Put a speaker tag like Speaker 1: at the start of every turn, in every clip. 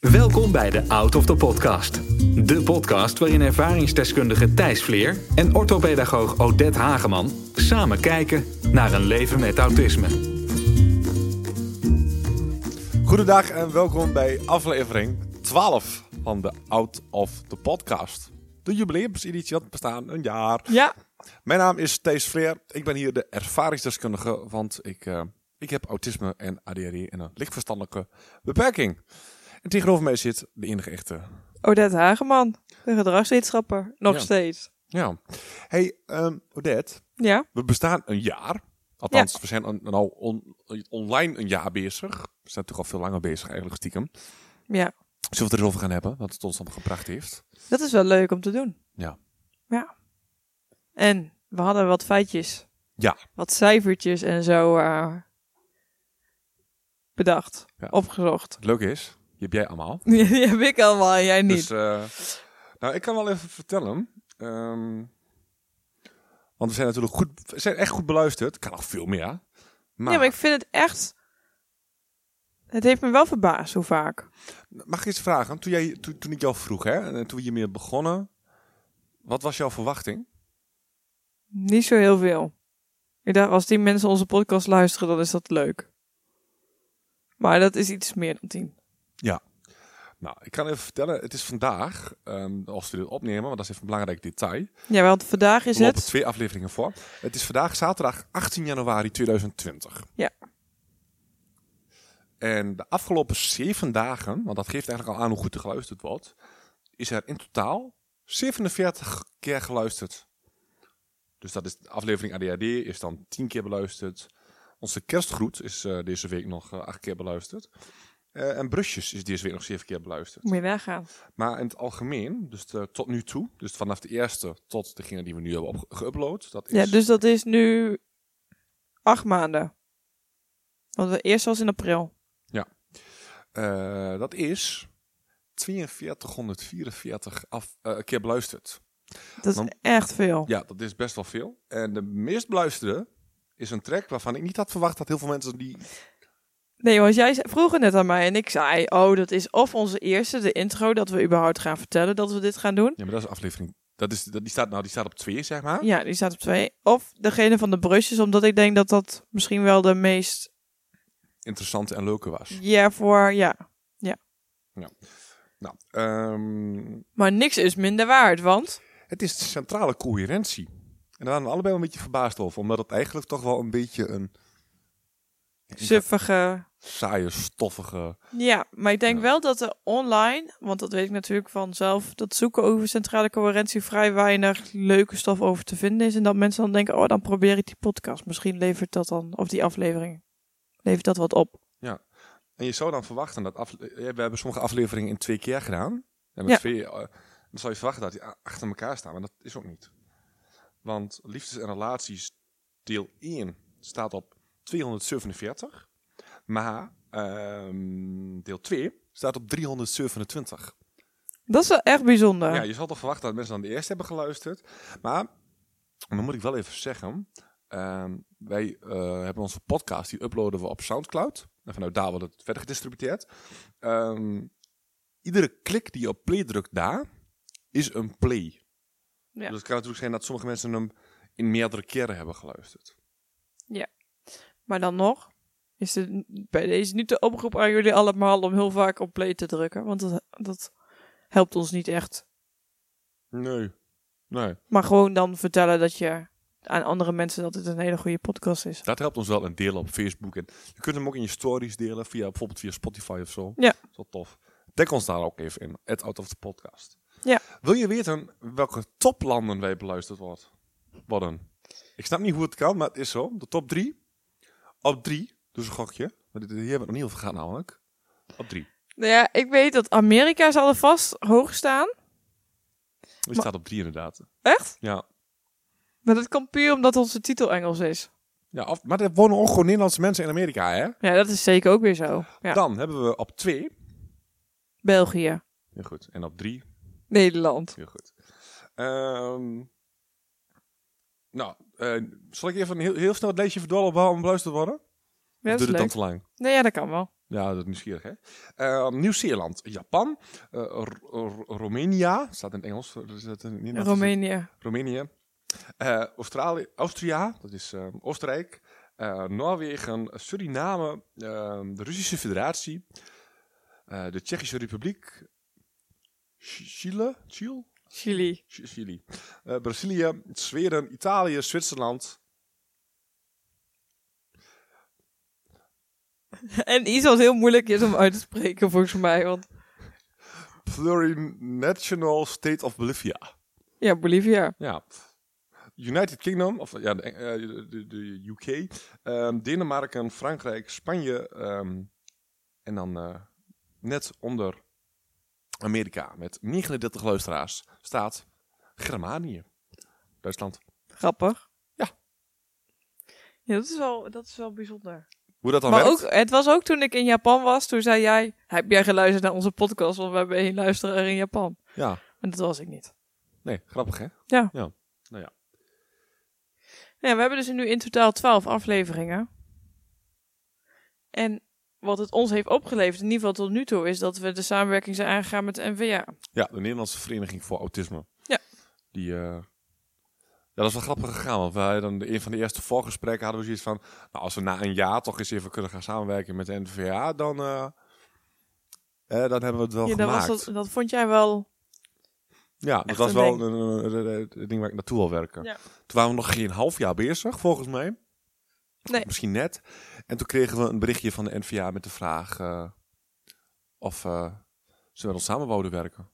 Speaker 1: bij de Out of the Podcast. De podcast waarin ervaringsdeskundige Thijs Vleer en orthopedagoog Odette Hageman samen kijken naar een leven met autisme.
Speaker 2: Goedendag en welkom bij aflevering 12 van de Out of the Podcast. De jubileumseditie had bestaan een jaar.
Speaker 3: Ja,
Speaker 2: Mijn naam is Thees Vleer. Ik ben hier de ervaringsdeskundige, want ik, eh, ik heb autisme en ADHD en een lichtverstandelijke beperking. En tegenover mij zit de enige echte.
Speaker 3: Odette Hageman, de gedragswetenschapper, nog
Speaker 2: Ja.
Speaker 3: steeds.
Speaker 2: Ja. Hey, ehm Odette,
Speaker 3: Ja,
Speaker 2: we bestaan een jaar. Althans, we zijn een, nou on- online een jaar bezig. We zijn natuurlijk al veel langer bezig eigenlijk, stiekem. Zullen
Speaker 3: ja.
Speaker 2: we het er eens over gaan hebben, wat het ons allemaal gebracht heeft?
Speaker 3: Dat is wel leuk om te doen.
Speaker 2: Ja.
Speaker 3: Ja. En we hadden wat feitjes,
Speaker 2: Ja.
Speaker 3: wat cijfertjes en zo eh, bedacht,
Speaker 2: Ja.
Speaker 3: opgezocht.
Speaker 2: Het leuke is, die heb jij allemaal.
Speaker 3: Die heb ik allemaal en jij niet.
Speaker 2: Dus, eh, nou, ik kan wel even vertellen. ehm, want we zijn natuurlijk goed, we zijn echt goed beluisterd. Kan nog veel meer. Maar,
Speaker 3: Ja, maar ik vind het echt... Het heeft me wel verbaasd hoe vaak.
Speaker 2: mag ik iets vragen? Toen, jij, toen, toen ik jou vroeg, hè, en toen we hiermee begonnen, wat was jouw verwachting?
Speaker 3: Niet zo heel veel. Ik dacht, als die mensen onze podcast luisteren, dan is dat leuk. Maar dat is iets meer dan tien.
Speaker 2: Nou, ik kan even vertellen, het is vandaag, ehm, als we dit opnemen, want dat is even een belangrijk detail.
Speaker 3: Ja, want vandaag is
Speaker 2: Er lopen
Speaker 3: het.
Speaker 2: twee afleveringen voor. Het is vandaag zaterdag 18 januari 2020.
Speaker 3: Ja.
Speaker 2: En de afgelopen zeven dagen, want dat geeft eigenlijk al aan hoe goed er geluisterd wordt, is er in totaal 47 keer geluisterd. Dus dat is de aflevering ADHD is dan 10 keer beluisterd. Onze kerstgroet is eh, deze week nog eh, acht keer beluisterd. Eh, en Brusjes is deze week nog zeven keer beluisterd.
Speaker 3: Moet je nagaan.
Speaker 2: Maar in het algemeen, dus de- tot nu toe, dus vanaf de eerste tot degene die we nu hebben opge- geüpload, dat is
Speaker 3: Ja, dus dat is nu acht maanden. Want de eerste was in april.
Speaker 2: eh, dat is 4244 af, eh, keer beluisterd.
Speaker 3: Dat
Speaker 2: Dan-
Speaker 3: is echt veel.
Speaker 2: Ja, dat is best wel veel. En de meest beluisterde is een track waarvan ik niet had verwacht dat heel veel mensen die...
Speaker 3: Nee, want jij zei- vroeg het net aan mij en ik zei: Oh, dat is of onze eerste, de intro, dat we überhaupt gaan vertellen dat we dit gaan doen.
Speaker 2: Ja, maar dat is aflevering... Dat is, dat, die, staat, nou, die staat op twee, zeg maar.
Speaker 3: Ja, die staat op twee. Of degene van de brusjes, omdat ik denk dat dat misschien wel de meest.
Speaker 2: Interessant en leuke was.
Speaker 3: Ja, voor ja.
Speaker 2: Nou, ehm,
Speaker 3: Maar niks is minder waard, want.
Speaker 2: Het is de centrale coherentie. En daar waren we allebei wel een beetje verbaasd over. Omdat het eigenlijk toch wel een beetje een...
Speaker 3: Suffige.
Speaker 2: Saaie, stoffige...
Speaker 3: Ja, maar ik denk
Speaker 2: Ja.
Speaker 3: wel dat er online, want dat weet ik natuurlijk vanzelf, dat zoeken over centrale coherentie vrij weinig leuke stof over te vinden is. En dat mensen dan denken, oh, dan probeer ik die podcast. Misschien levert dat dan, of die aflevering, levert dat wat op.
Speaker 2: En je zou dan verwachten dat... Af... eh, We hebben sommige afleveringen in twee keer gedaan. En met
Speaker 3: Ja.
Speaker 2: twee, eh, dan zou je verwachten dat die a- achter elkaar staan. Maar dat is ook niet. Want liefdes en relaties deel 1 staat op 247. Maar ehm, deel 2 staat op 327.
Speaker 3: Dat is wel echt bijzonder.
Speaker 2: Ja, je zal toch verwachten dat mensen dan de eerste hebben geluisterd. Maar, dan moet ik wel even zeggen. ehm, wij eh, hebben onze podcast, die uploaden we op Soundcloud. En vanuit daar wordt het verder gedistributeerd. Ehm, iedere klik die je op play drukt daar, is een play.
Speaker 3: Ja.
Speaker 2: Dus het kan natuurlijk zijn dat sommige mensen hem in meerdere keren hebben geluisterd.
Speaker 3: Maar dan nog, is het bij deze niet de oproep aan jullie allemaal om heel vaak op play te drukken. Want dat, dat helpt ons niet echt.
Speaker 2: Nee. Nee.
Speaker 3: Maar gewoon dan vertellen dat je aan andere mensen dat dit een hele goede podcast is.
Speaker 2: Dat helpt ons wel een delen op Facebook. En je kunt hem ook in je stories delen, via, bijvoorbeeld via Spotify of zo.
Speaker 3: Ja.
Speaker 2: Dat is wel tof. Tag ons daar ook even in, het Out of the Podcast.
Speaker 3: Ja.
Speaker 2: Wil je weten welke toplanden wij beluisterd wordt- worden? Ik snap niet hoe het kan, maar het is zo. De top drie. Op drie, dus een gokje. Maar dit- hier hebben we nog niet over gehad namelijk. Op drie.
Speaker 3: Nou ja, ik weet dat Amerika zal er vast hoog staan.
Speaker 2: Die
Speaker 3: Maar-
Speaker 2: staat op drie inderdaad.
Speaker 3: Echt?
Speaker 2: Ja.
Speaker 3: Maar dat kan puur omdat onze titel Engels is.
Speaker 2: ja of, maar er wonen ook gewoon Nederlandse mensen in Amerika, hè?
Speaker 3: Ja, dat is zeker ook weer zo. Ja.
Speaker 2: Dan hebben we op twee.
Speaker 3: België,
Speaker 2: Heel goed. En op drie
Speaker 3: Nederland.
Speaker 2: Heel goed. Ehm, nou, eh, zal ik even een heel, heel snel het lijstje verdollen om beluisterd te worden?
Speaker 3: Ja,
Speaker 2: Of
Speaker 3: dat is
Speaker 2: duurt het dan
Speaker 3: leuk.
Speaker 2: te lang?
Speaker 3: Nee, ja, dat kan wel.
Speaker 2: Ja, dat is nieuwsgierig, hè? Eh, Nieuw-Zeeland, Japan, eh, R- R- Roemenië, staat in het Engels. eh, dus dat- in Nederland is het-
Speaker 3: Roemenië.
Speaker 2: Roemenië, eh, Australië, Austria, dat is eh, Oostenrijk, eh, Noorwegen, Suriname, eh, de Russische Federatie, eh, de Tsjechische Republiek, Ch- Chile, Chile,
Speaker 3: Chili.
Speaker 2: Ch- Chili. Eh, Brazilië, Zweden, Italië, Zwitserland.
Speaker 3: En iets wat heel moeilijk is om uit te spreken, volgens mij. Want
Speaker 2: Plurinational State of Bolivia.
Speaker 3: ja, Bolivia.
Speaker 2: Ja. United Kingdom, of ja, de, eh, de, de UK, ehm, Denemarken, Frankrijk, Spanje ehm, en dan eh, net onder Amerika met 39 luisteraars staat Germanië, Duitsland.
Speaker 3: Grappig.
Speaker 2: Ja.
Speaker 3: Ja, dat is wel, dat is wel bijzonder.
Speaker 2: Hoe dat dan
Speaker 3: maar
Speaker 2: werkt?
Speaker 3: ook, het was ook toen ik in Japan was, toen zei jij, heb jij geluisterd naar onze podcast? Want we hebben één luisteraar in Japan.
Speaker 2: Ja,
Speaker 3: En dat was ik niet.
Speaker 2: nee, grappig hè?
Speaker 3: Ja.
Speaker 2: ja. Nou ja,
Speaker 3: Nou Ja, we hebben dus nu in totaal 12 afleveringen. En wat het ons heeft opgeleverd, in ieder geval tot nu toe, is dat we de samenwerking zijn aangegaan met de NVA.
Speaker 2: ja, de Nederlandse Vereniging voor Autisme.
Speaker 3: Ja.
Speaker 2: Die, eh, ja, dat is wel grappig gegaan, want wij dan de- een van de eerste voorgesprekken hadden we zoiets van, nou, als we na een jaar toch eens even kunnen gaan samenwerken met de NVA, dan, eh, eh, dan hebben we het wel
Speaker 3: Ja, dat, was
Speaker 2: gemaakt.
Speaker 3: dat, dat vond jij wel.
Speaker 2: ja, dat
Speaker 3: echt
Speaker 2: was
Speaker 3: een
Speaker 2: wel
Speaker 3: ding.
Speaker 2: een, een- een- een- een ding waar ik naartoe wil werken.
Speaker 3: Ja.
Speaker 2: Toen waren we nog geen half jaar bezig, volgens mij.
Speaker 3: Nee.
Speaker 2: Misschien net. En toen kregen we een berichtje van de NVA met de vraag eh, of eh, ze met ons samen wouden werken.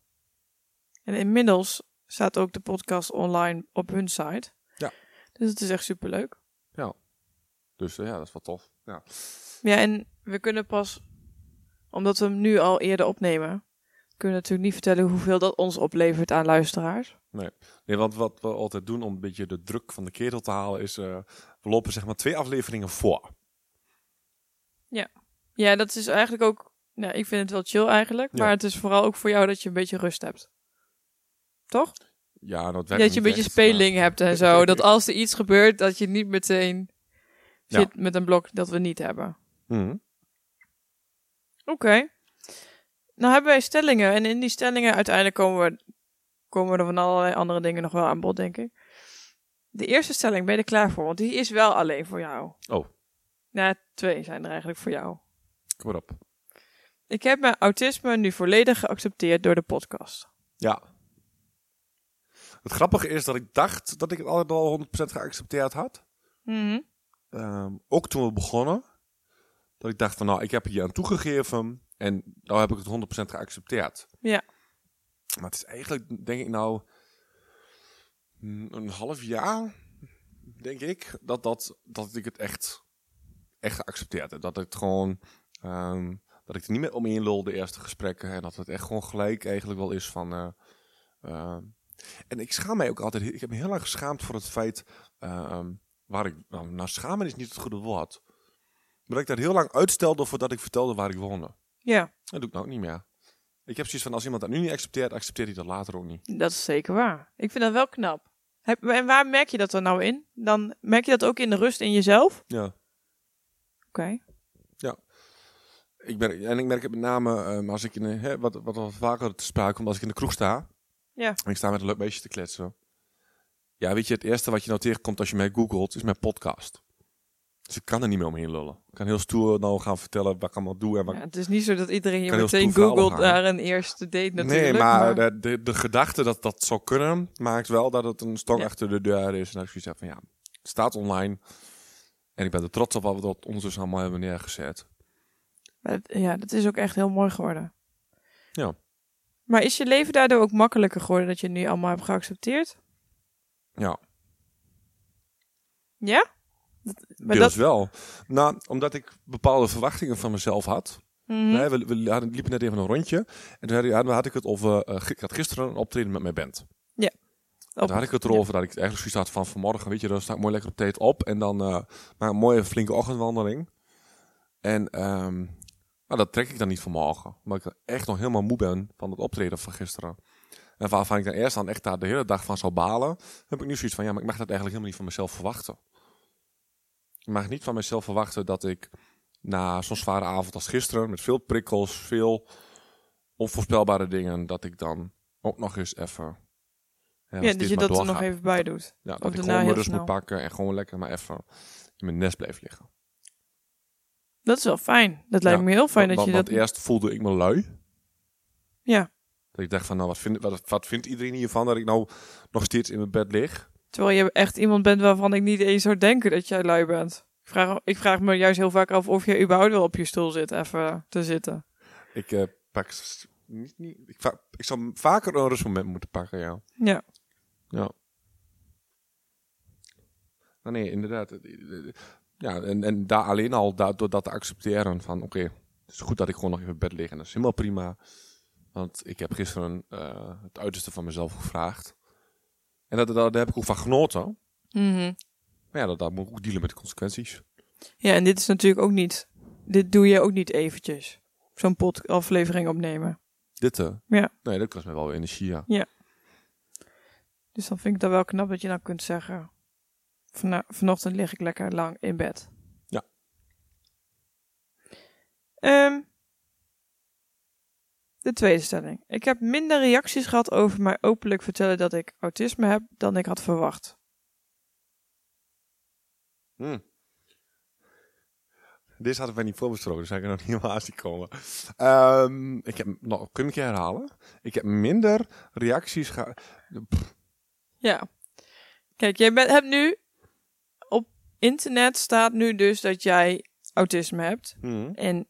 Speaker 3: En inmiddels staat ook de podcast online op hun site.
Speaker 2: Ja.
Speaker 3: Dus het is echt superleuk.
Speaker 2: Dus eh, ja, dat is wel tof. Ja.
Speaker 3: Ja, en we kunnen pas, omdat we hem nu al eerder opnemen, kunnen we natuurlijk niet vertellen hoeveel dat ons oplevert aan luisteraars.
Speaker 2: Nee, want wat we altijd doen om een beetje de druk van de ketel te halen is... eh, we lopen zeg maar twee afleveringen voor.
Speaker 3: Ja, dat is eigenlijk ook. Nou, ik vind het wel chill eigenlijk.
Speaker 2: Ja.
Speaker 3: Maar het is vooral ook voor jou dat je een beetje rust hebt. Toch?
Speaker 2: Ja, dat werkt
Speaker 3: Ja, dat je een
Speaker 2: niet
Speaker 3: beetje
Speaker 2: echt, maar-
Speaker 3: speling hebt en zo. Dat als er iets gebeurt, dat je niet meteen
Speaker 2: Ja.
Speaker 3: zit met een blok dat we niet hebben.
Speaker 2: Mhm.
Speaker 3: Oké. Nou hebben wij stellingen. En in die stellingen uiteindelijk komen, we, komen er van allerlei andere dingen nog wel aan bod, denk ik. De eerste stelling, ben je er klaar voor? Want die is wel alleen voor jou.
Speaker 2: Oh.
Speaker 3: Nou, twee zijn er eigenlijk voor jou.
Speaker 2: Kom maar op.
Speaker 3: Ik heb mijn autisme nu volledig geaccepteerd door de podcast.
Speaker 2: Ja. Het grappige is dat ik dacht dat ik het altijd al 100% geaccepteerd had.
Speaker 3: Mhm.
Speaker 2: Ehm, ook toen we begonnen. Dat ik dacht van nou, ik heb hier aan toegegeven. En nou heb ik het 100% geaccepteerd.
Speaker 3: Ja.
Speaker 2: Maar het is eigenlijk, denk ik nou, mm, een half jaar, denk ik, dat, dat, dat ik het echt, echt geaccepteerd heb. Dat ik het gewoon, ehm, dat ik er niet meer omheen lul de eerste gesprekken. En dat het echt gewoon gelijk eigenlijk wel is van... eh, ehm. en ik schaam mij ook altijd, ik heb me heel lang geschaamd voor het feit, ehm, waar ik, nou, nou, schamen is niet het goede woord. Maar dat ik dat heel lang uitstelde voordat ik vertelde waar ik woonde.
Speaker 3: Ja,
Speaker 2: Dat doe ik nou ook niet meer. Ik heb zoiets van, als iemand dat nu niet accepteert, accepteert hij dat later ook niet.
Speaker 3: dat is zeker waar. Ik vind dat wel knap. Heb, en waar merk je dat dan nou in? Dan merk je dat ook in de rust in jezelf? Oké.
Speaker 2: Ja. Ik ben, en ik merk het met name ehm, als ik in een, hè, wat, wat al vaker te sprake komt als ik in de kroeg sta.
Speaker 3: Ja.
Speaker 2: En ik sta met een leuk meisje te kletsen. Ja, weet je, het eerste wat je nou tegenkomt als je mij googelt, is mijn podcast. Dus ik kan er niet meer omheen lullen. Ik kan heel stoer nou gaan vertellen wat ik allemaal doe en wat
Speaker 3: Ja, het is niet zo dat iedereen je
Speaker 2: Kan heel
Speaker 3: meteen
Speaker 2: stoer
Speaker 3: googelt
Speaker 2: verhaal gaan.
Speaker 3: naar een eerste date
Speaker 2: Nee,
Speaker 3: natuurlijk.
Speaker 2: maar, De, de, de gedachte dat dat zou kunnen, maakt wel dat het een stok
Speaker 3: Ja.
Speaker 2: achter de deur is. En dat ik zoiets heb van, ja, het staat online. En ik ben er trots op wat we dat ons dus allemaal hebben neergezet.
Speaker 3: Maar het- Ja, dat is ook echt heel mooi geworden.
Speaker 2: Ja.
Speaker 3: Maar is je leven daardoor ook makkelijker geworden dat je het nu allemaal hebt geaccepteerd?
Speaker 2: Ja,
Speaker 3: Ja? Dat, maar
Speaker 2: deels
Speaker 3: dat,
Speaker 2: wel. Nou, omdat ik bepaalde verwachtingen van mezelf had.
Speaker 3: Mhm.
Speaker 2: Nee, we, we hadden- liepen net even een rondje. En toen had ik, had ik het over, eh, g- ik had gisteren een optreden met mijn band.
Speaker 3: Op-
Speaker 2: Daar had ik het erover dat ik eigenlijk zoiets had van vanmorgen, weet je, dan sta ik mooi lekker op tijd op en dan eh maak een mooie flinke ochtendwandeling. En ehm, maar dat trek ik dan niet vanmorgen, omdat ik echt nog helemaal moe ben van het optreden van gisteren. En waarvan ik dan eerst dan echt daar de hele dag van zou balen, heb ik nu zoiets van, ja, maar ik mag dat eigenlijk helemaal niet van mezelf verwachten. Ik mag niet van mezelf verwachten dat ik na zo'n zware avond als gisteren, met veel prikkels, veel onvoorspelbare dingen, dat ik dan ook nog eens even. hè, als
Speaker 3: Ja,
Speaker 2: dit
Speaker 3: dat je
Speaker 2: maar
Speaker 3: dat er nog
Speaker 2: doorgaat,
Speaker 3: even bij doet.
Speaker 2: Ja, dat
Speaker 3: ook
Speaker 2: ik
Speaker 3: daarna
Speaker 2: gewoon mijn
Speaker 3: heel
Speaker 2: rust moet
Speaker 3: snel.
Speaker 2: pakken en gewoon lekker maar even in mijn nest blijf liggen.
Speaker 3: Dat is wel fijn. Dat lijkt
Speaker 2: Ja,
Speaker 3: me heel fijn dat
Speaker 2: want,
Speaker 3: je
Speaker 2: want
Speaker 3: dat...
Speaker 2: eerst voelde ik me lui.
Speaker 3: Ja,
Speaker 2: Dat ik dacht van, nou, wat, vind, wat, wat vindt iedereen hiervan dat ik nou nog steeds in mijn bed lig?
Speaker 3: terwijl je echt iemand bent waarvan ik niet eens zou denken dat jij lui bent. Ik vraag, ik vraag me juist heel vaak af of je überhaupt wel op je stoel zit, even te zitten.
Speaker 2: Ik eh, pak... s- Niet, niet, ik, va- ik zou vaker een rustmoment moeten pakken, ja.
Speaker 3: Ja,
Speaker 2: Ja. Nou, nee, inderdaad. Het- het- het- Ja, en, en daar alleen al da- door dat te accepteren van, oké, het is goed dat ik gewoon nog even in bed lig en dat is helemaal prima. Want ik heb gisteren eh, het uiterste van mezelf gevraagd. En dat, dat, daar heb ik ook van genoten.
Speaker 3: Mhm.
Speaker 2: Maar ja, dat, dat moet ik ook dealen met de consequenties.
Speaker 3: ja en dit is natuurlijk ook niet... Dit doe je ook niet eventjes. Zo'n pod aflevering opnemen.
Speaker 2: Dit, eh,
Speaker 3: Ja.
Speaker 2: Nee, dat kost me wel weer energie, ja.
Speaker 3: Dus dan vind ik dat wel knap dat je dan kunt zeggen... "Vana- vanochtend lig ik lekker lang in bed.
Speaker 2: Ja.
Speaker 3: Ehm, de tweede stelling. Ik heb minder reacties gehad over mij openlijk vertellen dat ik autisme heb dan ik had verwacht.
Speaker 2: Hm. Deze hadden wij niet voorbesproken, dus hij kan er nog niet helemaal aan zien komen. Ehm, ik heb, nou, kun je een keer herhalen? Ik heb minder reacties gehad.
Speaker 3: Ja. Kijk, jij bent, hebt nu... Op internet staat nu dus dat jij autisme hebt.
Speaker 2: hmm.
Speaker 3: En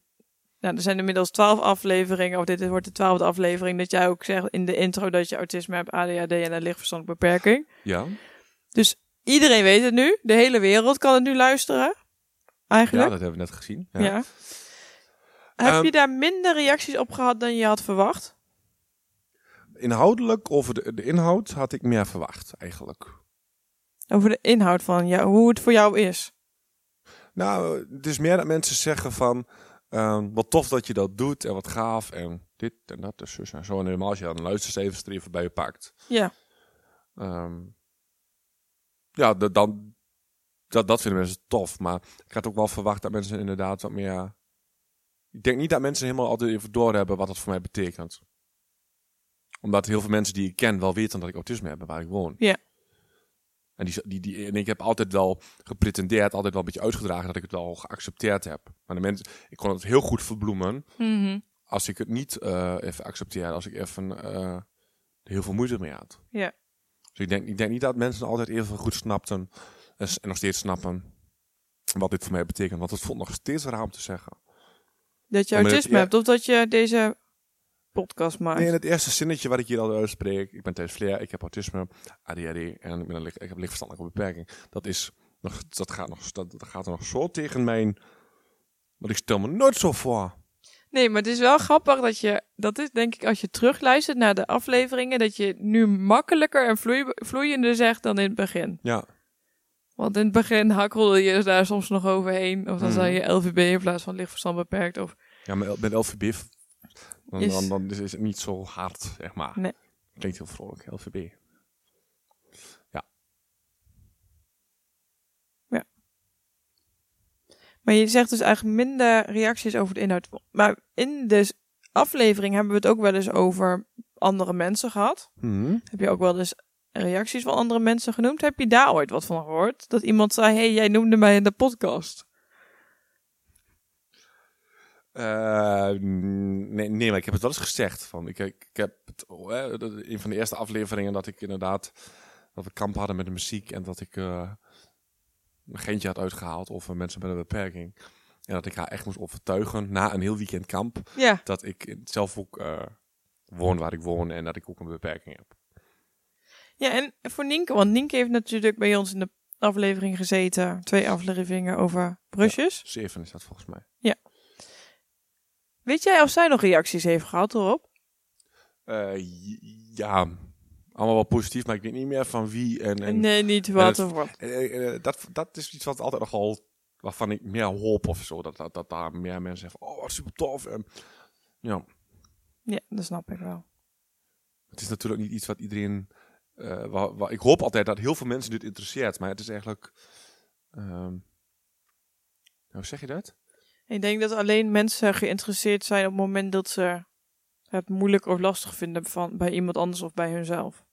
Speaker 3: nou, er zijn inmiddels twaalf afleveringen, of dit wordt de twaalfde aflevering, dat jij ook zegt in de intro dat je autisme hebt, ADHD en een lichtverstandelijke beperking.
Speaker 2: Ja,
Speaker 3: Dus iedereen weet het nu, de hele wereld kan het nu luisteren,
Speaker 2: ja,
Speaker 3: eigenlijk.
Speaker 2: dat hebben we net gezien.
Speaker 3: Ja.
Speaker 2: Ja.
Speaker 3: Heb
Speaker 2: Ehm,
Speaker 3: je daar minder reacties op gehad dan je had verwacht?
Speaker 2: Inhoudelijk, over de, de inhoud, had ik meer verwacht eigenlijk.
Speaker 3: Over de inhoud van ja, hoe het voor jou is.
Speaker 2: Nou, het is meer dat mensen zeggen van... ehm, wat tof dat je dat doet en wat gaaf en dit en dat en zus en zo. En helemaal als je dan luistert, even er even bij je pakt.
Speaker 3: Ja,
Speaker 2: Ehm, ja, dat, dan, dat, dat vinden mensen tof. Maar ik had ook wel verwacht dat mensen inderdaad wat meer... Ik denk niet dat mensen helemaal altijd even doorhebben wat dat voor mij betekent. Omdat heel veel mensen die ik ken wel weten dat ik autisme heb en waar ik woon.
Speaker 3: Ja.
Speaker 2: En, die, die, die, en ik heb altijd wel gepretendeerd, altijd wel een beetje uitgedragen dat ik het al geaccepteerd heb. Maar de mensen, ik kon het heel goed verbloemen
Speaker 3: Mhm.
Speaker 2: als ik het niet eh, even accepteer. Als ik even eh, er heel veel moeite mee had.
Speaker 3: ja.
Speaker 2: Dus ik denk, ik denk niet dat mensen altijd even goed snapten en, s- en nog steeds snappen wat dit voor mij betekent. Want het voelt nog steeds raar om te zeggen.
Speaker 3: dat je
Speaker 2: Ja, maar dat-
Speaker 3: autisme
Speaker 2: ja.
Speaker 3: hebt of dat je deze podcast maakt.
Speaker 2: Nee, in het eerste zinnetje wat ik hier al uitspreek, ik ben Thijs Vleer, ik heb autisme, ADHD en ik, ben een licht- ik heb een lichtverstandelijke beperking. Dat, is nog, dat, gaat nog, dat, dat gaat er nog zo tegen mijn... Want ik stel me nooit zo voor.
Speaker 3: Nee, maar het is wel grappig dat je, dat is denk ik als je terugluistert naar de afleveringen, dat je nu makkelijker en vloei- vloeiender zegt dan in het begin.
Speaker 2: Ja,
Speaker 3: Want in het begin hakkelde je daar soms nog overheen, of dan
Speaker 2: Mhm.
Speaker 3: zei je LVB in plaats van lichtverstand beperkt. Of,
Speaker 2: ja maar met LVB v- dan,
Speaker 3: Is-
Speaker 2: dan, dan is, is het niet zo hard, zeg maar.
Speaker 3: Nee.
Speaker 2: Klinkt heel vrolijk, LVB.
Speaker 3: maar je zegt dus eigenlijk minder reacties over de inhoud. Maar in de s- aflevering hebben we het ook wel eens over andere mensen gehad.
Speaker 2: Mhm.
Speaker 3: Heb je ook wel eens reacties van andere mensen genoemd? Heb je daar ooit wat van gehoord? Dat iemand zei, hey, jij noemde mij in de podcast.
Speaker 2: Eh, nee, nee, maar ik heb het wel eens gezegd. Van, ik, ik, ik heb het, oh, hè, dat- een van de eerste afleveringen dat ik inderdaad dat we kamp hadden met de muziek en dat ik eh een geintje had uitgehaald of eh, mensen met een beperking. En dat ik haar echt moest overtuigen na een heel weekend kamp
Speaker 3: Ja,
Speaker 2: dat ik zelf ook eh, woon waar ik woon en dat ik ook een beperking heb.
Speaker 3: Ja, en voor Nienke, want Nienke heeft natuurlijk bij ons in de aflevering gezeten, twee afleveringen over brusjes.
Speaker 2: Zeven is dat volgens mij.
Speaker 3: Weet jij of zij nog reacties heeft gehad erop?
Speaker 2: Eh, j- ja, allemaal wel positief, maar ik weet niet meer van wie en, en
Speaker 3: nee, eh, niet
Speaker 2: het-
Speaker 3: wat of wat.
Speaker 2: Eh, eh, eh, dat, dat is iets wat altijd nogal waarvan ik meer hoop of zo. Dat, dat, dat daar meer mensen zeggen: Oh, wat super tof. En, ja,
Speaker 3: Ja, dat snap ik wel.
Speaker 2: het is natuurlijk niet iets wat iedereen. eh, wa- wa- ik hoop altijd dat heel veel mensen dit interesseert, maar het is eigenlijk. ehm, hoe zeg je dat?
Speaker 3: Ik denk dat alleen mensen geïnteresseerd zijn op het moment dat ze het moeilijk of lastig vinden van, bij iemand anders of bij hunzelf.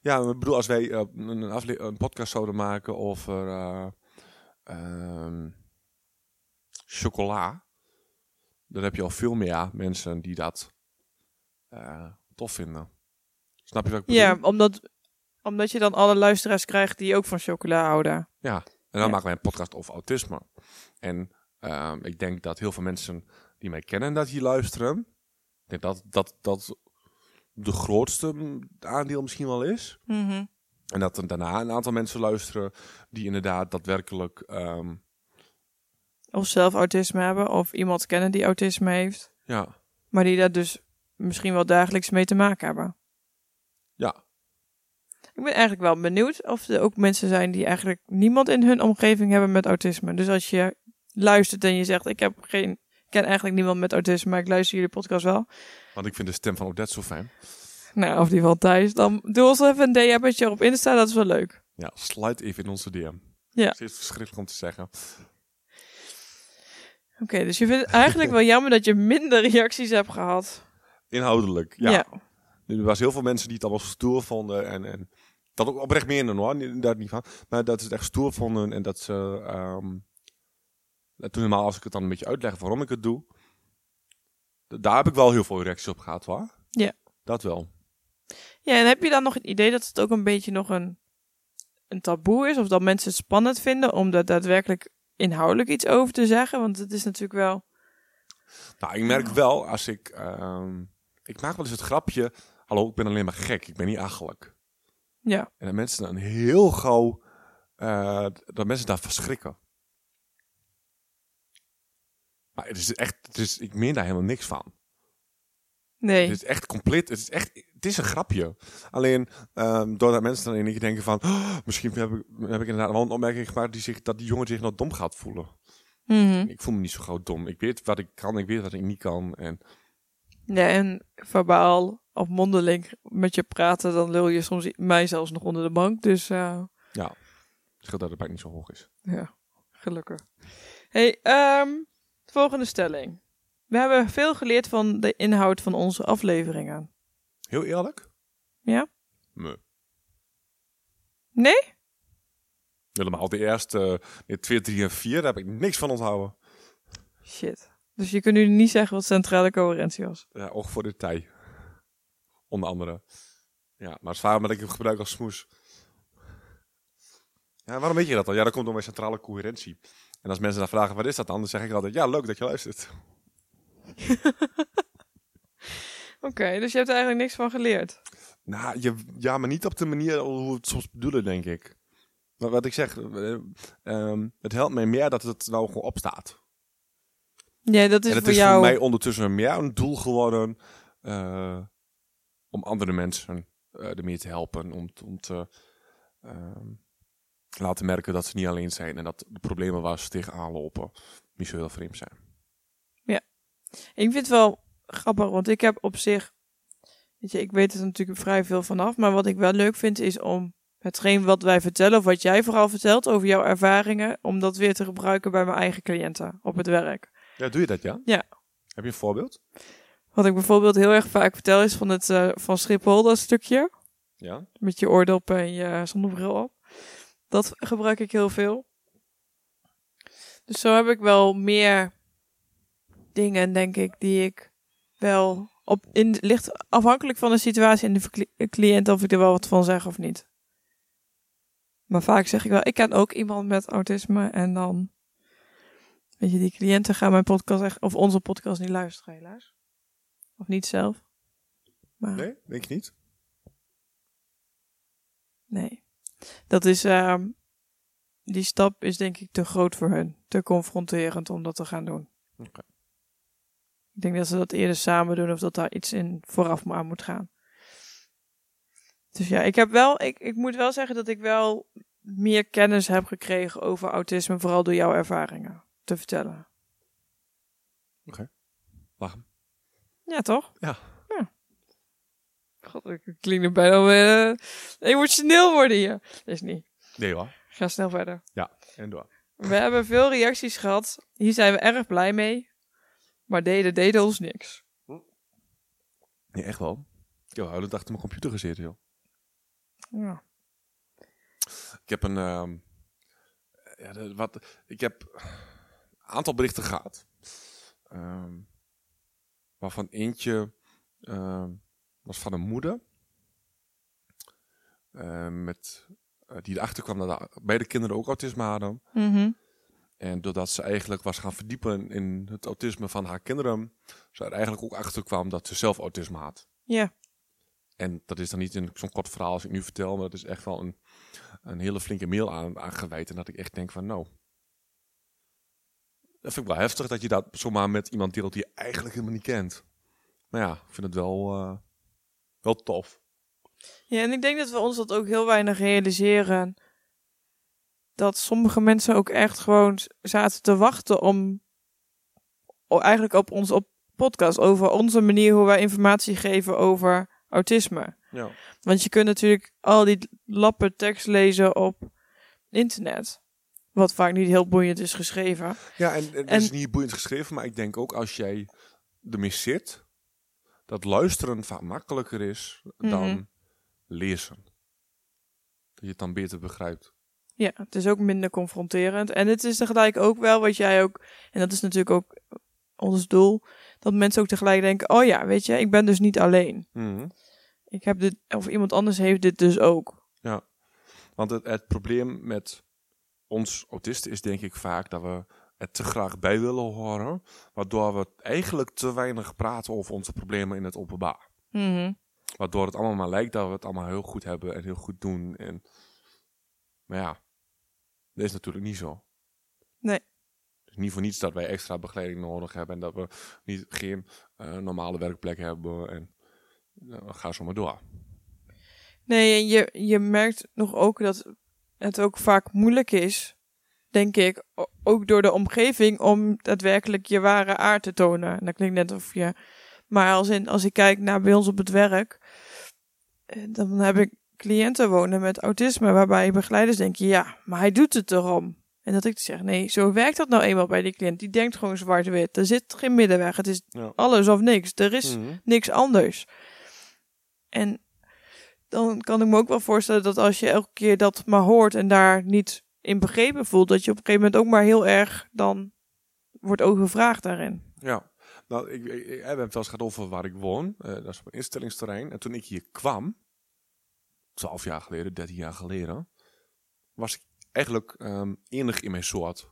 Speaker 2: Ja, ik bedoel, als wij eh, een, een afle- een podcast zouden maken over eh, ehm, chocola, dan heb je al veel meer mensen die dat eh, tof vinden. Snap je wat ik bedoel?
Speaker 3: Ja, omdat, omdat je dan alle luisteraars krijgt die ook van chocola houden.
Speaker 2: Ja, en dan
Speaker 3: Ja.
Speaker 2: maken wij een podcast over autisme. En ehm, ik denk dat heel veel mensen die mij kennen en dat hier luisteren, ik denk dat dat, dat de grootste mm, aandeel misschien wel is.
Speaker 3: Mhm.
Speaker 2: En dat er daarna een aantal mensen luisteren die inderdaad daadwerkelijk ehm,
Speaker 3: Of zelf autisme hebben of iemand kennen die autisme heeft.
Speaker 2: ja,
Speaker 3: Maar die daar dus misschien wel dagelijks mee te maken hebben.
Speaker 2: ja,
Speaker 3: Ik ben eigenlijk wel benieuwd of er ook mensen zijn die eigenlijk niemand in hun omgeving hebben met autisme. Dus als je luistert en je zegt, ik heb geen, ik ken eigenlijk niemand met autisme, maar ik luister jullie podcast wel.
Speaker 2: want ik vind de stem van Odette zo fijn.
Speaker 3: Nou, of die van Thijs, dan doe ons even een DM'tje op Insta, dat is wel leuk.
Speaker 2: Ja, sluit even in onze DM.
Speaker 3: Ja.
Speaker 2: Het is verschrikkelijk om te zeggen.
Speaker 3: Oké, dus je vindt het eigenlijk wel jammer dat je minder reacties hebt gehad.
Speaker 2: Inhoudelijk, ja. Er was heel veel mensen die het allemaal stoer vonden. En, en dat ook oprecht meerden hoor, niet- daar niet van. Maar dat ze het echt stoer vonden en dat ze... ehm, dat toen normaal als ik het dan een beetje uitleg waarom ik het doe. d- Daar heb ik wel heel veel reacties op gehad hoor.
Speaker 3: Ja.
Speaker 2: Dat wel.
Speaker 3: Ja, en heb je dan nog het idee dat het ook een beetje nog een, een taboe is? Of dat mensen het spannend vinden om daar daadwerkelijk inhoudelijk iets over te zeggen? Want het is natuurlijk wel...
Speaker 2: Nou, ik merk wel als ik... ehm, ik maak wel eens het grapje... Hallo, ik ben alleen maar gek. Ik ben niet achterlijk.
Speaker 3: Ja,
Speaker 2: En dat mensen dan heel gauw, eh, dat mensen daar verschrikken. Maar het is echt, het is, ik meen daar helemaal niks van.
Speaker 3: nee.
Speaker 2: Het is echt compleet, het is echt, het is een grapje. Alleen ehm, doordat mensen dan in één keer denken van, "Oh, misschien heb ik, heb ik inderdaad wel een opmerking gemaakt die zich, dat die jongen zich nou dom gaat voelen.
Speaker 3: Mhm.
Speaker 2: Ik voel me niet zo gauw dom. Ik weet wat ik kan, ik weet wat ik niet kan. En
Speaker 3: Ja, en verbaal of mondeling met je praten, dan lul je soms i- mij zelfs nog onder de bank. Dus eh,
Speaker 2: ja, het scheelt dat de pijn niet zo hoog is.
Speaker 3: ja, gelukkig. hey, ehm, volgende stelling. We hebben veel geleerd van de inhoud van onze afleveringen.
Speaker 2: Heel eerlijk?
Speaker 3: Ja?
Speaker 2: Nee.
Speaker 3: Nee?
Speaker 2: Helemaal de eerste, eh, de 2, 3 en 4, daar heb ik niks van onthouden.
Speaker 3: Shit. Dus je kunt nu niet zeggen wat centrale coherentie was.
Speaker 2: Ja, oog voor de tij. Onder andere. Ja, maar het is waarom dat ik hem gebruik als smoes. Ja, waarom weet je dat dan? Ja, dat komt door mijn centrale coherentie. En als mensen dan vragen, wat is dat dan? Dan zeg ik altijd, ja, leuk dat je luistert.
Speaker 3: Oké, dus je hebt er eigenlijk niks van geleerd.
Speaker 2: Nou, je, ja, maar niet op de manier hoe we het soms bedoelen, denk ik. Maar wat ik zeg, eh, ehm, het helpt mij meer dat het nou gewoon opstaat.
Speaker 3: Ja, dat is
Speaker 2: en het
Speaker 3: dus voor
Speaker 2: is
Speaker 3: jou.
Speaker 2: voor mij ondertussen meer een doel geworden eh, om andere mensen eh ermee te helpen. Om, t- om te ehm, laten merken dat ze niet alleen zijn en dat de problemen waar ze tegenaan lopen niet zo heel vreemd zijn.
Speaker 3: Ik vind het wel grappig, want ik heb op zich. Weet je, ik weet er natuurlijk vrij veel vanaf. Maar wat ik wel leuk vind is om hetgeen wat wij vertellen, of wat jij vooral vertelt over jouw ervaringen, om dat weer te gebruiken bij mijn eigen cliënten op het werk.
Speaker 2: Ja, doe je dat, ja?
Speaker 3: Ja.
Speaker 2: Heb je een voorbeeld?
Speaker 3: Wat ik bijvoorbeeld heel erg vaak vertel is van het eh, van Schiphol, dat stukje.
Speaker 2: Ja.
Speaker 3: Met je oordoppen en je zonnebril op. Dat gebruik ik heel veel. Dus zo heb ik wel meer dingen, denk ik, die ik wel op in ligt afhankelijk van de situatie en de verkli- cliënt of ik er wel wat van zeg of niet. Maar vaak zeg ik wel, ik ken ook iemand met autisme en dan weet je, die cliënten gaan mijn podcast echt of onze podcast niet luisteren helaas. Of niet zelf. Maar
Speaker 2: Nee, denk ik niet.
Speaker 3: Nee. Dat is, ehm, die stap is denk ik te groot voor hun. Te confronterend om dat te gaan doen.
Speaker 2: Oké.
Speaker 3: Ik denk dat ze dat eerder samen doen of dat daar iets in vooraf maar aan moet gaan. Dus ja, ik heb wel, ik, ik moet wel zeggen dat ik wel meer kennis heb gekregen over autisme, vooral door jouw ervaringen te vertellen.
Speaker 2: Lachen.
Speaker 3: Ja, toch?
Speaker 2: Ja.
Speaker 3: Ja. God, ik klink er bijna eh, emotioneel worden hier. Dat is niet.
Speaker 2: Nee hoor.
Speaker 3: Ga snel verder.
Speaker 2: Ja, en door.
Speaker 3: We hebben veel reacties gehad. Hier zijn we erg blij mee. Maar deden deden ons niks.
Speaker 2: Nee, echt wel. Ik heb huilend achter mijn computer gezeten, joh.
Speaker 3: Ja.
Speaker 2: Ik heb een. ehm, ja, de- wat, ik heb een aantal berichten gehad. Ehm, waarvan eentje ehm, was van een moeder. Ehm, met, eh, die erachter kwam dat haar beide kinderen ook autisme hadden.
Speaker 3: Mhm.
Speaker 2: En doordat ze eigenlijk was gaan verdiepen in het autisme van haar kinderen, ze er eigenlijk ook achter kwam dat ze zelf autisme had.
Speaker 3: Ja.
Speaker 2: En dat is dan niet in zo'n kort verhaal als ik nu vertel, maar dat is echt wel een, een hele flinke mail aan, aangeweid. En dat ik echt denk van, nou... Dat vind ik wel heftig dat je dat zomaar met iemand deelt die je eigenlijk helemaal niet kent. Maar ja, ik vind het wel, eh, wel tof.
Speaker 3: Ja, en ik denk dat we ons dat ook heel weinig realiseren. Dat sommige mensen ook echt gewoon z- zaten te wachten om o- eigenlijk op onze op podcast over onze manier hoe wij informatie geven over autisme.
Speaker 2: Ja.
Speaker 3: Want je kunt natuurlijk al die lappen tekst lezen op internet. Wat vaak niet heel boeiend is geschreven.
Speaker 2: Ja, en, en het
Speaker 3: En-
Speaker 2: is niet boeiend geschreven, maar ik denk ook als jij ermee zit, dat luisteren vaak makkelijker is dan
Speaker 3: Mhm.
Speaker 2: lezen. Dat je het dan beter begrijpt.
Speaker 3: Ja, het is ook minder confronterend. En het is tegelijk ook wel wat jij ook. En dat is natuurlijk ook ons doel. Dat mensen ook tegelijk denken: oh ja, weet je, ik ben dus niet alleen.
Speaker 2: Mhm.
Speaker 3: Ik heb dit, of iemand anders heeft dit dus ook.
Speaker 2: Want het, het probleem met ons autisten is denk ik vaak dat we het te graag bij willen horen, waardoor we eigenlijk te weinig praten over onze problemen in het openbaar. Waardoor het allemaal maar lijkt dat we het allemaal heel goed hebben en heel goed doen. En... Maar ja, dat is natuurlijk niet zo.
Speaker 3: Nee.
Speaker 2: Het is niet voor niets dat wij extra begeleiding nodig hebben en dat we niet, geen eh, normale werkplek hebben. En eh, ga zo maar door.
Speaker 3: Nee, en je, je merkt nog ook dat het ook vaak moeilijk is, denk ik, o- ook door de omgeving, om daadwerkelijk je ware aard te tonen. En dat klinkt net of je. Maar als, in, als ik kijk naar bij ons op het werk, eh, dan heb ik cliënten wonen met autisme, waarbij begeleiders denken, ja, maar hij doet het erom. En dat ik dus zeg, nee, zo werkt dat nou eenmaal bij die cliënt. Die denkt gewoon zwart-wit. Er zit geen middenweg. Het is
Speaker 2: Ja.
Speaker 3: alles of niks. Er is
Speaker 2: Mhm.
Speaker 3: niks anders. En dan kan ik me ook wel voorstellen dat als je elke keer dat maar hoort en daar niet in begrepen voelt, dat je op een gegeven moment ook maar heel erg dan wordt overvraagd daarin.
Speaker 2: Ja, nou, ik, ik, ik- we hebben het wel eens gehad over waar ik woon. Eh, dat is op een instellingsterrein. En toen ik hier kwam, 12 jaar geleden, 13 jaar geleden, was ik eigenlijk ehm, enig in mijn soort.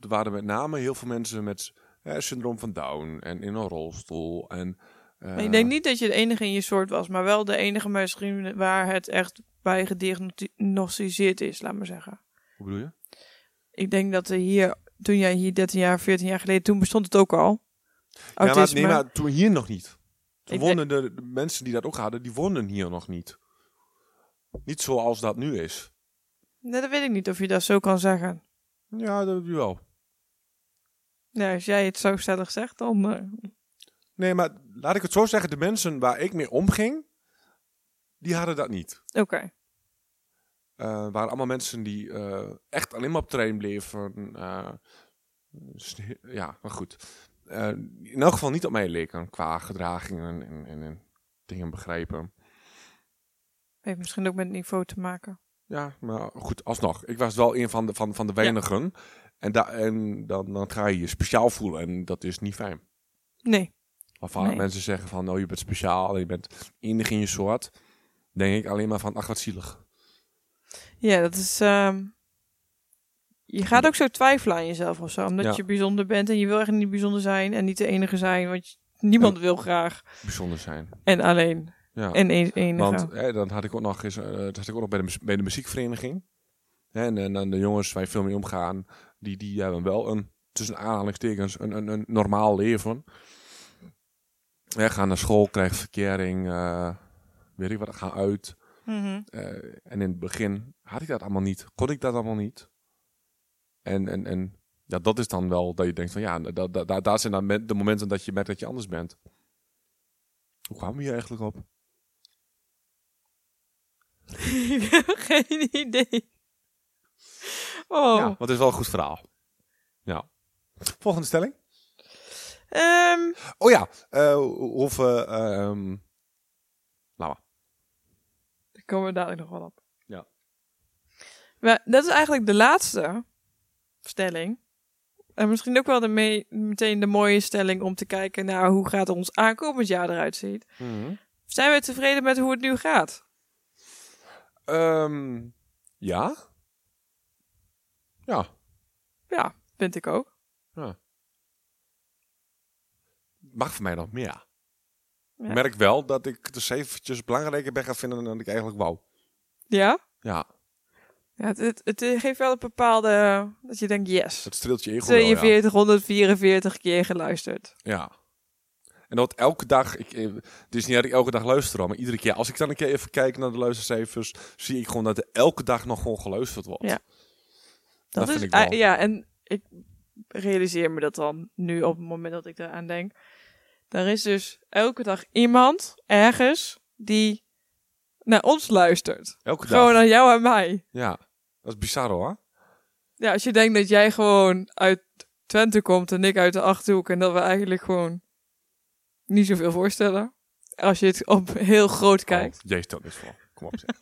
Speaker 2: Er waren met name heel veel mensen met eh, syndroom van Down en in een rolstoel. En, eh,
Speaker 3: Maar ik denk niet dat je de enige in je soort was, maar wel de enige misschien waar het echt bij gediagnosticeerd is, laat maar zeggen.
Speaker 2: Hoe bedoel je?
Speaker 3: Ik denk dat er hier, toen jij hier 13 jaar, 14 jaar geleden, toen bestond het ook al.
Speaker 2: Ja, maar,
Speaker 3: Autisme.
Speaker 2: nee, maar toen hier nog niet. Toen
Speaker 3: Ik
Speaker 2: woonden de, de mensen die dat ook hadden, die woonden hier nog niet. Niet zoals dat nu is.
Speaker 3: Nee, dat weet ik niet of je dat zo kan zeggen.
Speaker 2: Ja, dat heb je wel.
Speaker 3: Nou, als jij het zo stellig zegt, dan... eh,
Speaker 2: Nee, maar laat ik het zo zeggen. De mensen waar ik mee omging, die hadden dat niet.
Speaker 3: Oké.
Speaker 2: Eh waren allemaal mensen die eh, echt alleen maar op trein bleven. eh, sne- ja, maar goed. Eh, in elk geval niet op mij leken qua gedragingen en, en, en dingen begrijpen.
Speaker 3: Heeft misschien ook met niveau te maken.
Speaker 2: Ja, maar goed, alsnog. Ik was wel een van de, van, van de weinigen. En, da- en dan, dan ga je je speciaal voelen en dat is niet fijn.
Speaker 3: Nee.
Speaker 2: Maar vaak
Speaker 3: Nee.
Speaker 2: mensen zeggen van, oh, je bent speciaal en je bent enig in je soort. Denk ik alleen maar van, ach, wat zielig.
Speaker 3: Ja, dat is. ehm, je gaat ook zo twijfelen aan jezelf of zo. Omdat
Speaker 2: Ja.
Speaker 3: je bijzonder bent en je wil echt niet bijzonder zijn en niet de enige zijn. Want je- niemand wil graag.
Speaker 2: Bijzonder zijn.
Speaker 3: En alleen.
Speaker 2: Ja.
Speaker 3: En een, enige.
Speaker 2: Want hè, dan had ik ook nog, eens, eh, dat had ik ook nog bij, de, mus- bij de muziekvereniging. Hè, en, en dan de jongens waar je veel mee omgaan, die, die hebben wel een, tussen aanhalingstekens, een, een, een normaal leven. Hè, gaan naar school, krijgen verkering, eh, weet ik wat, gaan uit.
Speaker 3: Mhm.
Speaker 2: Eh, en in het begin had ik dat allemaal niet. Kon ik dat allemaal niet. En, en, en ja, dat is dan wel dat je denkt van ja, da, da, da- daar zijn dan men- de momenten dat je merkt dat je anders bent. Hoe kwamen we hier eigenlijk op?
Speaker 3: Ik heb geen idee. Oh.
Speaker 2: Ja, want het is wel een goed verhaal. Ja. Volgende stelling.
Speaker 3: Ehm,
Speaker 2: Oh ja, eh, of... eh, ehm, laat maar.
Speaker 3: daar komen we dadelijk nog wel op.
Speaker 2: Ja.
Speaker 3: Maar dat is eigenlijk de laatste stelling. En misschien ook wel de mee- meteen de mooie stelling om te kijken naar hoe gaat ons aankomend jaar eruit ziet.
Speaker 2: Mhm.
Speaker 3: Zijn we tevreden met hoe het nu gaat?
Speaker 2: Ehm, ja? Ja.
Speaker 3: Ja, vind ik ook.
Speaker 2: Mag voor mij nog meer.
Speaker 3: Ja.
Speaker 2: Ik merk wel dat ik het dus eventjes belangrijker ben gaan vinden dan ik eigenlijk wou.
Speaker 3: Ja?
Speaker 2: Ja,
Speaker 3: ja het, het, het geeft wel een bepaalde... Dat je denkt, yes.
Speaker 2: dat streelt je ego wel, oh ja.
Speaker 3: 4244 keer geluisterd.
Speaker 2: Ja. En dat elke dag, ik, eh, het is niet dat ik elke dag luister, hoor, maar iedere keer, als ik dan een keer even kijk naar de luistercijfers, zie ik gewoon dat er elke dag nog gewoon geluisterd wordt.
Speaker 3: Ja.
Speaker 2: Dat,
Speaker 3: is,
Speaker 2: vind ik wel.
Speaker 3: ah, ja, en ik realiseer me dat dan nu op het moment dat ik eraan denk. Er is dus elke dag iemand ergens die naar ons luistert.
Speaker 2: Elke dag.
Speaker 3: Gewoon naar jou en mij.
Speaker 2: Ja, dat is bizar hoor.
Speaker 3: Ja, als je denkt dat jij gewoon uit Twente komt en ik uit de Achterhoek en dat we eigenlijk gewoon niet zoveel voorstellen. Als je het op heel groot kijkt.
Speaker 2: Oh, jezus, dat is voor. Kom op. zeg.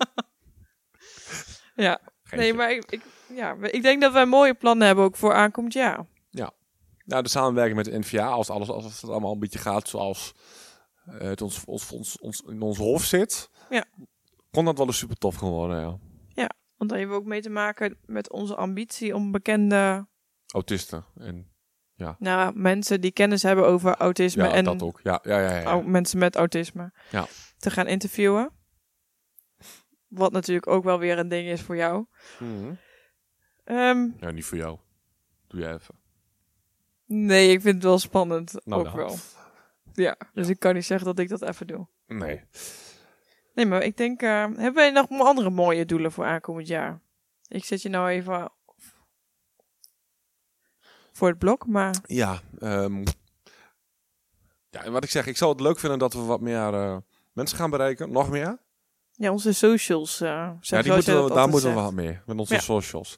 Speaker 3: Ja, nee,
Speaker 2: Geintje.
Speaker 3: maar ik, ik, ja, ik denk dat wij mooie plannen hebben ook voor aankomend jaar.
Speaker 2: Nou, de samenwerking met de NVA, als alles als het allemaal een beetje gaat zoals eh, het ons, ons, ons, ons- in ons hoofd zit,
Speaker 3: Ja.
Speaker 2: kon dat wel eens super tof gaan worden. Ja.
Speaker 3: Want daar hebben we ook mee te maken met onze ambitie om bekende
Speaker 2: Autisten en
Speaker 3: nou, mensen die kennis hebben over autisme
Speaker 2: ja,
Speaker 3: en Oh.
Speaker 2: dat ook. Ja, ja, ja, ja.
Speaker 3: au- mensen met autisme
Speaker 2: Ja.
Speaker 3: te gaan interviewen. Wat natuurlijk ook wel weer een ding is voor jou.
Speaker 2: Mhm.
Speaker 3: Ehm,
Speaker 2: ja, Nou, niet voor jou. Doe jij even.
Speaker 3: nee, ik vind het wel spannend.
Speaker 2: Nou,
Speaker 3: ook
Speaker 2: dan.
Speaker 3: wel. Ja, dus ik kan niet zeggen dat ik dat even doe.
Speaker 2: Nee.
Speaker 3: Nee, maar ik denk, eh, hebben wij nog mo- andere mooie doelen voor aankomend jaar? Ik zet je nou even voor het blok, maar
Speaker 2: Ja, ehm, ja, en wat ik zeg, ik zou het leuk vinden dat we wat meer eh, mensen gaan bereiken. Nog meer.
Speaker 3: ja, onze socials. eh,
Speaker 2: Ja,
Speaker 3: zoals
Speaker 2: die
Speaker 3: jij
Speaker 2: moeten
Speaker 3: dat
Speaker 2: we, daar
Speaker 3: altijd
Speaker 2: moeten we
Speaker 3: zegt.
Speaker 2: wat mee, met onze
Speaker 3: Ja.
Speaker 2: socials.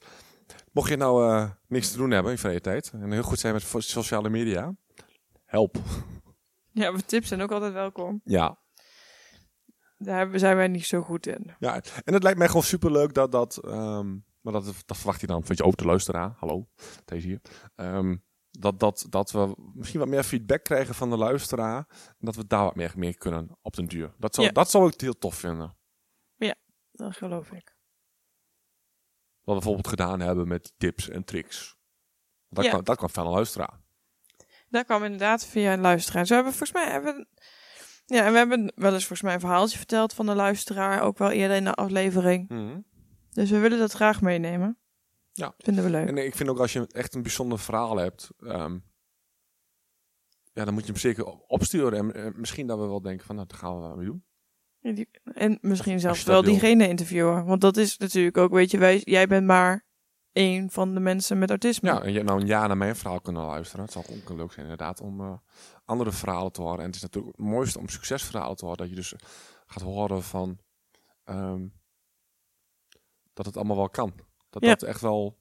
Speaker 2: Mocht je nou eh, niks te doen hebben in vrije tijd en heel goed zijn met vo- sociale media, help.
Speaker 3: Ja, maar tips zijn ook altijd welkom.
Speaker 2: Ja.
Speaker 3: Daar hebben- zijn wij niet zo goed in.
Speaker 2: ja. En het lijkt mij gewoon superleuk dat dat, ehm, maar dat, dat verwacht je dan van je ook de luisteraar, hallo, deze hier. Ehm, dat, dat, dat we misschien wat meer feedback krijgen van de luisteraar. En dat we daar wat meer mee kunnen op den duur. Dat zou,
Speaker 3: Ja.
Speaker 2: dat zou ik heel tof vinden.
Speaker 3: Dat geloof ik.
Speaker 2: wat we bijvoorbeeld gedaan hebben met tips en tricks. Dat,
Speaker 3: Ja.
Speaker 2: kwam, dat kwam van een luisteraar.
Speaker 3: Dat kwam inderdaad via een luisteraar. Zo hebben we volgens mij... Hebben, ja, en we hebben wel eens volgens mij een verhaaltje verteld van de luisteraar. Ook wel eerder in de aflevering. Dus we willen dat graag meenemen.
Speaker 2: Ja.
Speaker 3: Vinden we leuk.
Speaker 2: En ik vind ook als je echt een bijzonder verhaal hebt, ehm, ja, dan moet je hem zeker op- opsturen. En eh, misschien dat we wel denken van, nou, dat gaan we wel mee doen.
Speaker 3: En die- En misschien zelfs
Speaker 2: Als je dat
Speaker 3: wel
Speaker 2: wil.
Speaker 3: diegene interviewen. Want dat is natuurlijk ook, weet je, wij, jij bent maar één van de mensen met autisme.
Speaker 2: Ja, en je hebt nou een jaar naar mijn verhaal kunnen luisteren. Het zal ook leuk zijn inderdaad om eh, andere verhalen te horen. En het is natuurlijk het mooiste om succesverhalen te horen. Dat je dus gaat horen van ehm, dat het allemaal wel kan. Dat
Speaker 3: Ja.
Speaker 2: dat echt wel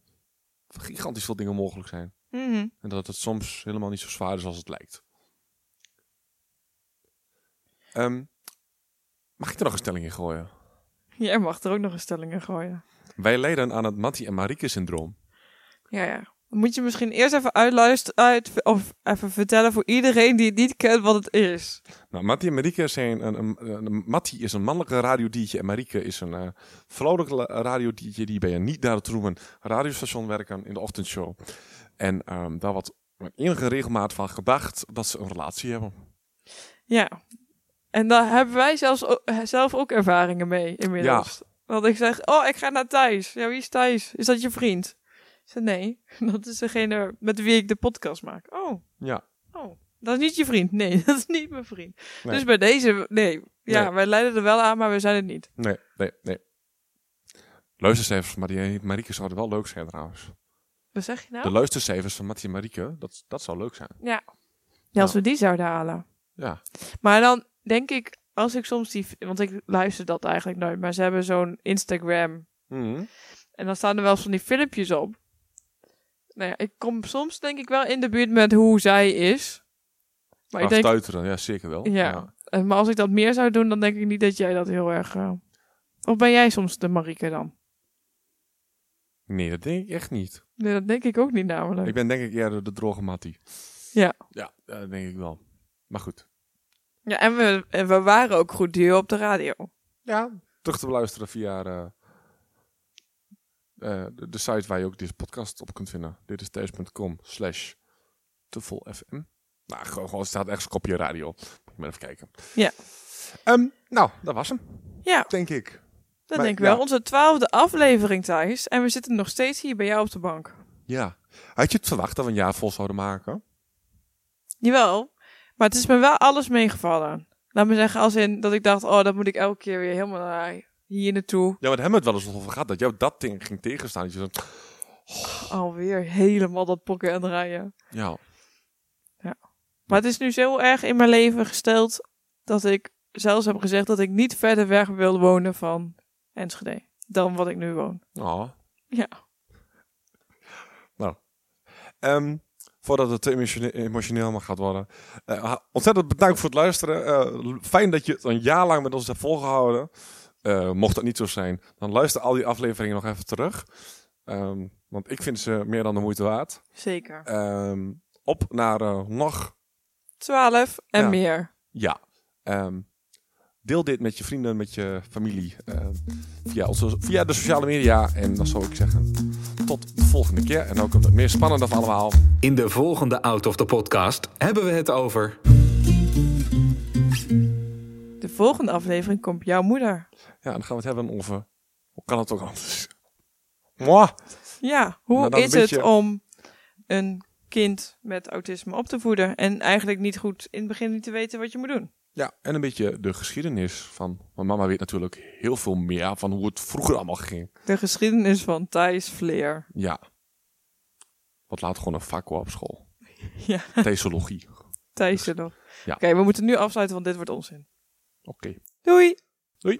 Speaker 2: gigantisch veel dingen mogelijk zijn.
Speaker 3: Mhm.
Speaker 2: En dat het soms helemaal niet zo zwaar is als het lijkt. Ehm, mag ik er nog een stelling in gooien?
Speaker 3: Jij mag er ook nog een stelling in gooien.
Speaker 2: Wij lijden aan het Mattie en Marieke syndroom.
Speaker 3: Ja, ja. Dan moet je misschien eerst even uitluisteren uit, of even vertellen voor iedereen die het niet kent wat het is.
Speaker 2: Nou, Mattie en Marieke zijn een, een, een- Mattie is een mannelijke radiodiertje en Marieke is een eh vrouwelijke la- radiodiertje die bij een niet naar het roemen radiostation werken in de ochtendshow. En ehm, daar wordt met enige regelmaat van gedacht dat ze een relatie hebben.
Speaker 3: Ja. En daar hebben wij zelfs o- eh, zelf ook ervaringen mee inmiddels. Want ik zeg, oh, ik ga naar Thijs. Ja, wie is Thijs? Is dat je vriend? Ik zeg, nee, dat is degene met wie ik de podcast maak. Oh,
Speaker 2: Ja.
Speaker 3: oh, dat is niet je vriend. Nee, dat is niet mijn vriend.
Speaker 2: Nee.
Speaker 3: Dus bij deze, nee. Ja,
Speaker 2: Nee.
Speaker 3: wij leiden er wel aan, maar we zijn het niet.
Speaker 2: Nee, nee, nee. Luistercijfers van Mattie en Marieke zouden wel leuk zijn trouwens.
Speaker 3: Wat zeg je nou?
Speaker 2: De luistercijfers van Mattie en Marieke, dat, dat zou leuk zijn.
Speaker 3: Ja. ja, als we die zouden halen.
Speaker 2: Ja.
Speaker 3: Maar dan denk ik, als ik soms die... Want ik luister dat eigenlijk nooit. Maar ze hebben zo'n Instagram. En dan staan er wel eens van die filmpjes op. Nou ja, ik kom soms denk ik wel in de buurt met hoe zij is. Maar ik denk,
Speaker 2: Afstuiteren, ja, zeker wel.
Speaker 3: Ja. eh, maar als ik dat meer zou doen, dan denk ik niet dat jij dat heel erg... eh, Of ben jij soms de Marieke dan?
Speaker 2: Nee, dat denk ik echt niet.
Speaker 3: Nee, dat denk ik ook niet namelijk.
Speaker 2: Ik ben denk ik eerder de droge mattie.
Speaker 3: Ja.
Speaker 2: Ja, eh, dat denk ik wel. Maar goed.
Speaker 3: Ja, en we, en we waren ook goed duur op de radio.
Speaker 2: Ja. Terug te beluisteren via eh, eh, de, de site waar je ook deze podcast op kunt vinden. Dit is thuis.com slash tuffelfm. Nou, gewoon, gewoon staat ergens een kopje radio. Moet ik maar even kijken.
Speaker 3: Ja.
Speaker 2: Ehm, nou, dat was hem,
Speaker 3: Ja,
Speaker 2: denk ik.
Speaker 3: dat
Speaker 2: Maar,
Speaker 3: denk ik wel.
Speaker 2: ja.
Speaker 3: Onze twaalfde aflevering, Thijs. En we zitten nog steeds hier bij jou op de bank.
Speaker 2: Ja. Had je het verwacht dat we een jaar vol zouden maken?
Speaker 3: Jawel, maar het is me wel alles meegevallen. Laat me zeggen, als in dat ik dacht, oh, dat moet ik elke keer weer helemaal naar hier naartoe.
Speaker 2: Ja, want hebben we het wel eens over gehad. Dat jou dat ding ging tegenstaan. Dat je zo,
Speaker 3: Alweer helemaal dat pokken en draaien.
Speaker 2: ja,
Speaker 3: Maar het is nu zo erg in mijn leven gesteld dat ik zelfs heb gezegd dat ik niet verder weg wil wonen van Enschede dan wat ik nu woon.
Speaker 2: Oh.
Speaker 3: Ja.
Speaker 2: Nou. Ehm, voordat het te emotione- emotioneel maar gaat worden. eh, ha- ontzettend bedankt voor het luisteren. Eh, l- fijn dat je het een jaar lang met ons hebt volgehouden. Eh, mocht dat niet zo zijn, dan luister al die afleveringen nog even terug. Ehm, want ik vind ze meer dan de moeite waard.
Speaker 3: Zeker.
Speaker 2: Ehm, op naar eh, nog.
Speaker 3: Twaalf en
Speaker 2: Ja.
Speaker 3: meer.
Speaker 2: Ja. Ehm, deel dit met je vrienden, met je familie. ehm, via, onze, via de sociale media. En dan zou ik zeggen, tot de volgende keer. En ook komt het meer spannende van allemaal.
Speaker 1: In de volgende Out of the Podcast hebben we het over...
Speaker 3: De volgende aflevering komt jouw moeder.
Speaker 2: Ja, dan gaan we het hebben over... Hoe kan het ook anders? Mwah!
Speaker 3: Ja, hoe
Speaker 2: Nou, dan
Speaker 3: is
Speaker 2: een beetje-
Speaker 3: het om een kind met autisme op te voeden en eigenlijk niet goed in het begin niet te weten wat je moet doen?
Speaker 2: Ja, en een beetje de geschiedenis van... Mijn mama weet natuurlijk heel veel meer van hoe het vroeger allemaal ging.
Speaker 3: De geschiedenis van Thijs Vleer.
Speaker 2: Ja. Wat later gewoon een vak hoor op school.
Speaker 3: Ja,
Speaker 2: Theologie. Oké.
Speaker 3: Thijs er nog.
Speaker 2: Ja.
Speaker 3: Oké, we moeten nu afsluiten, want dit wordt onzin. Doei!
Speaker 2: Doei.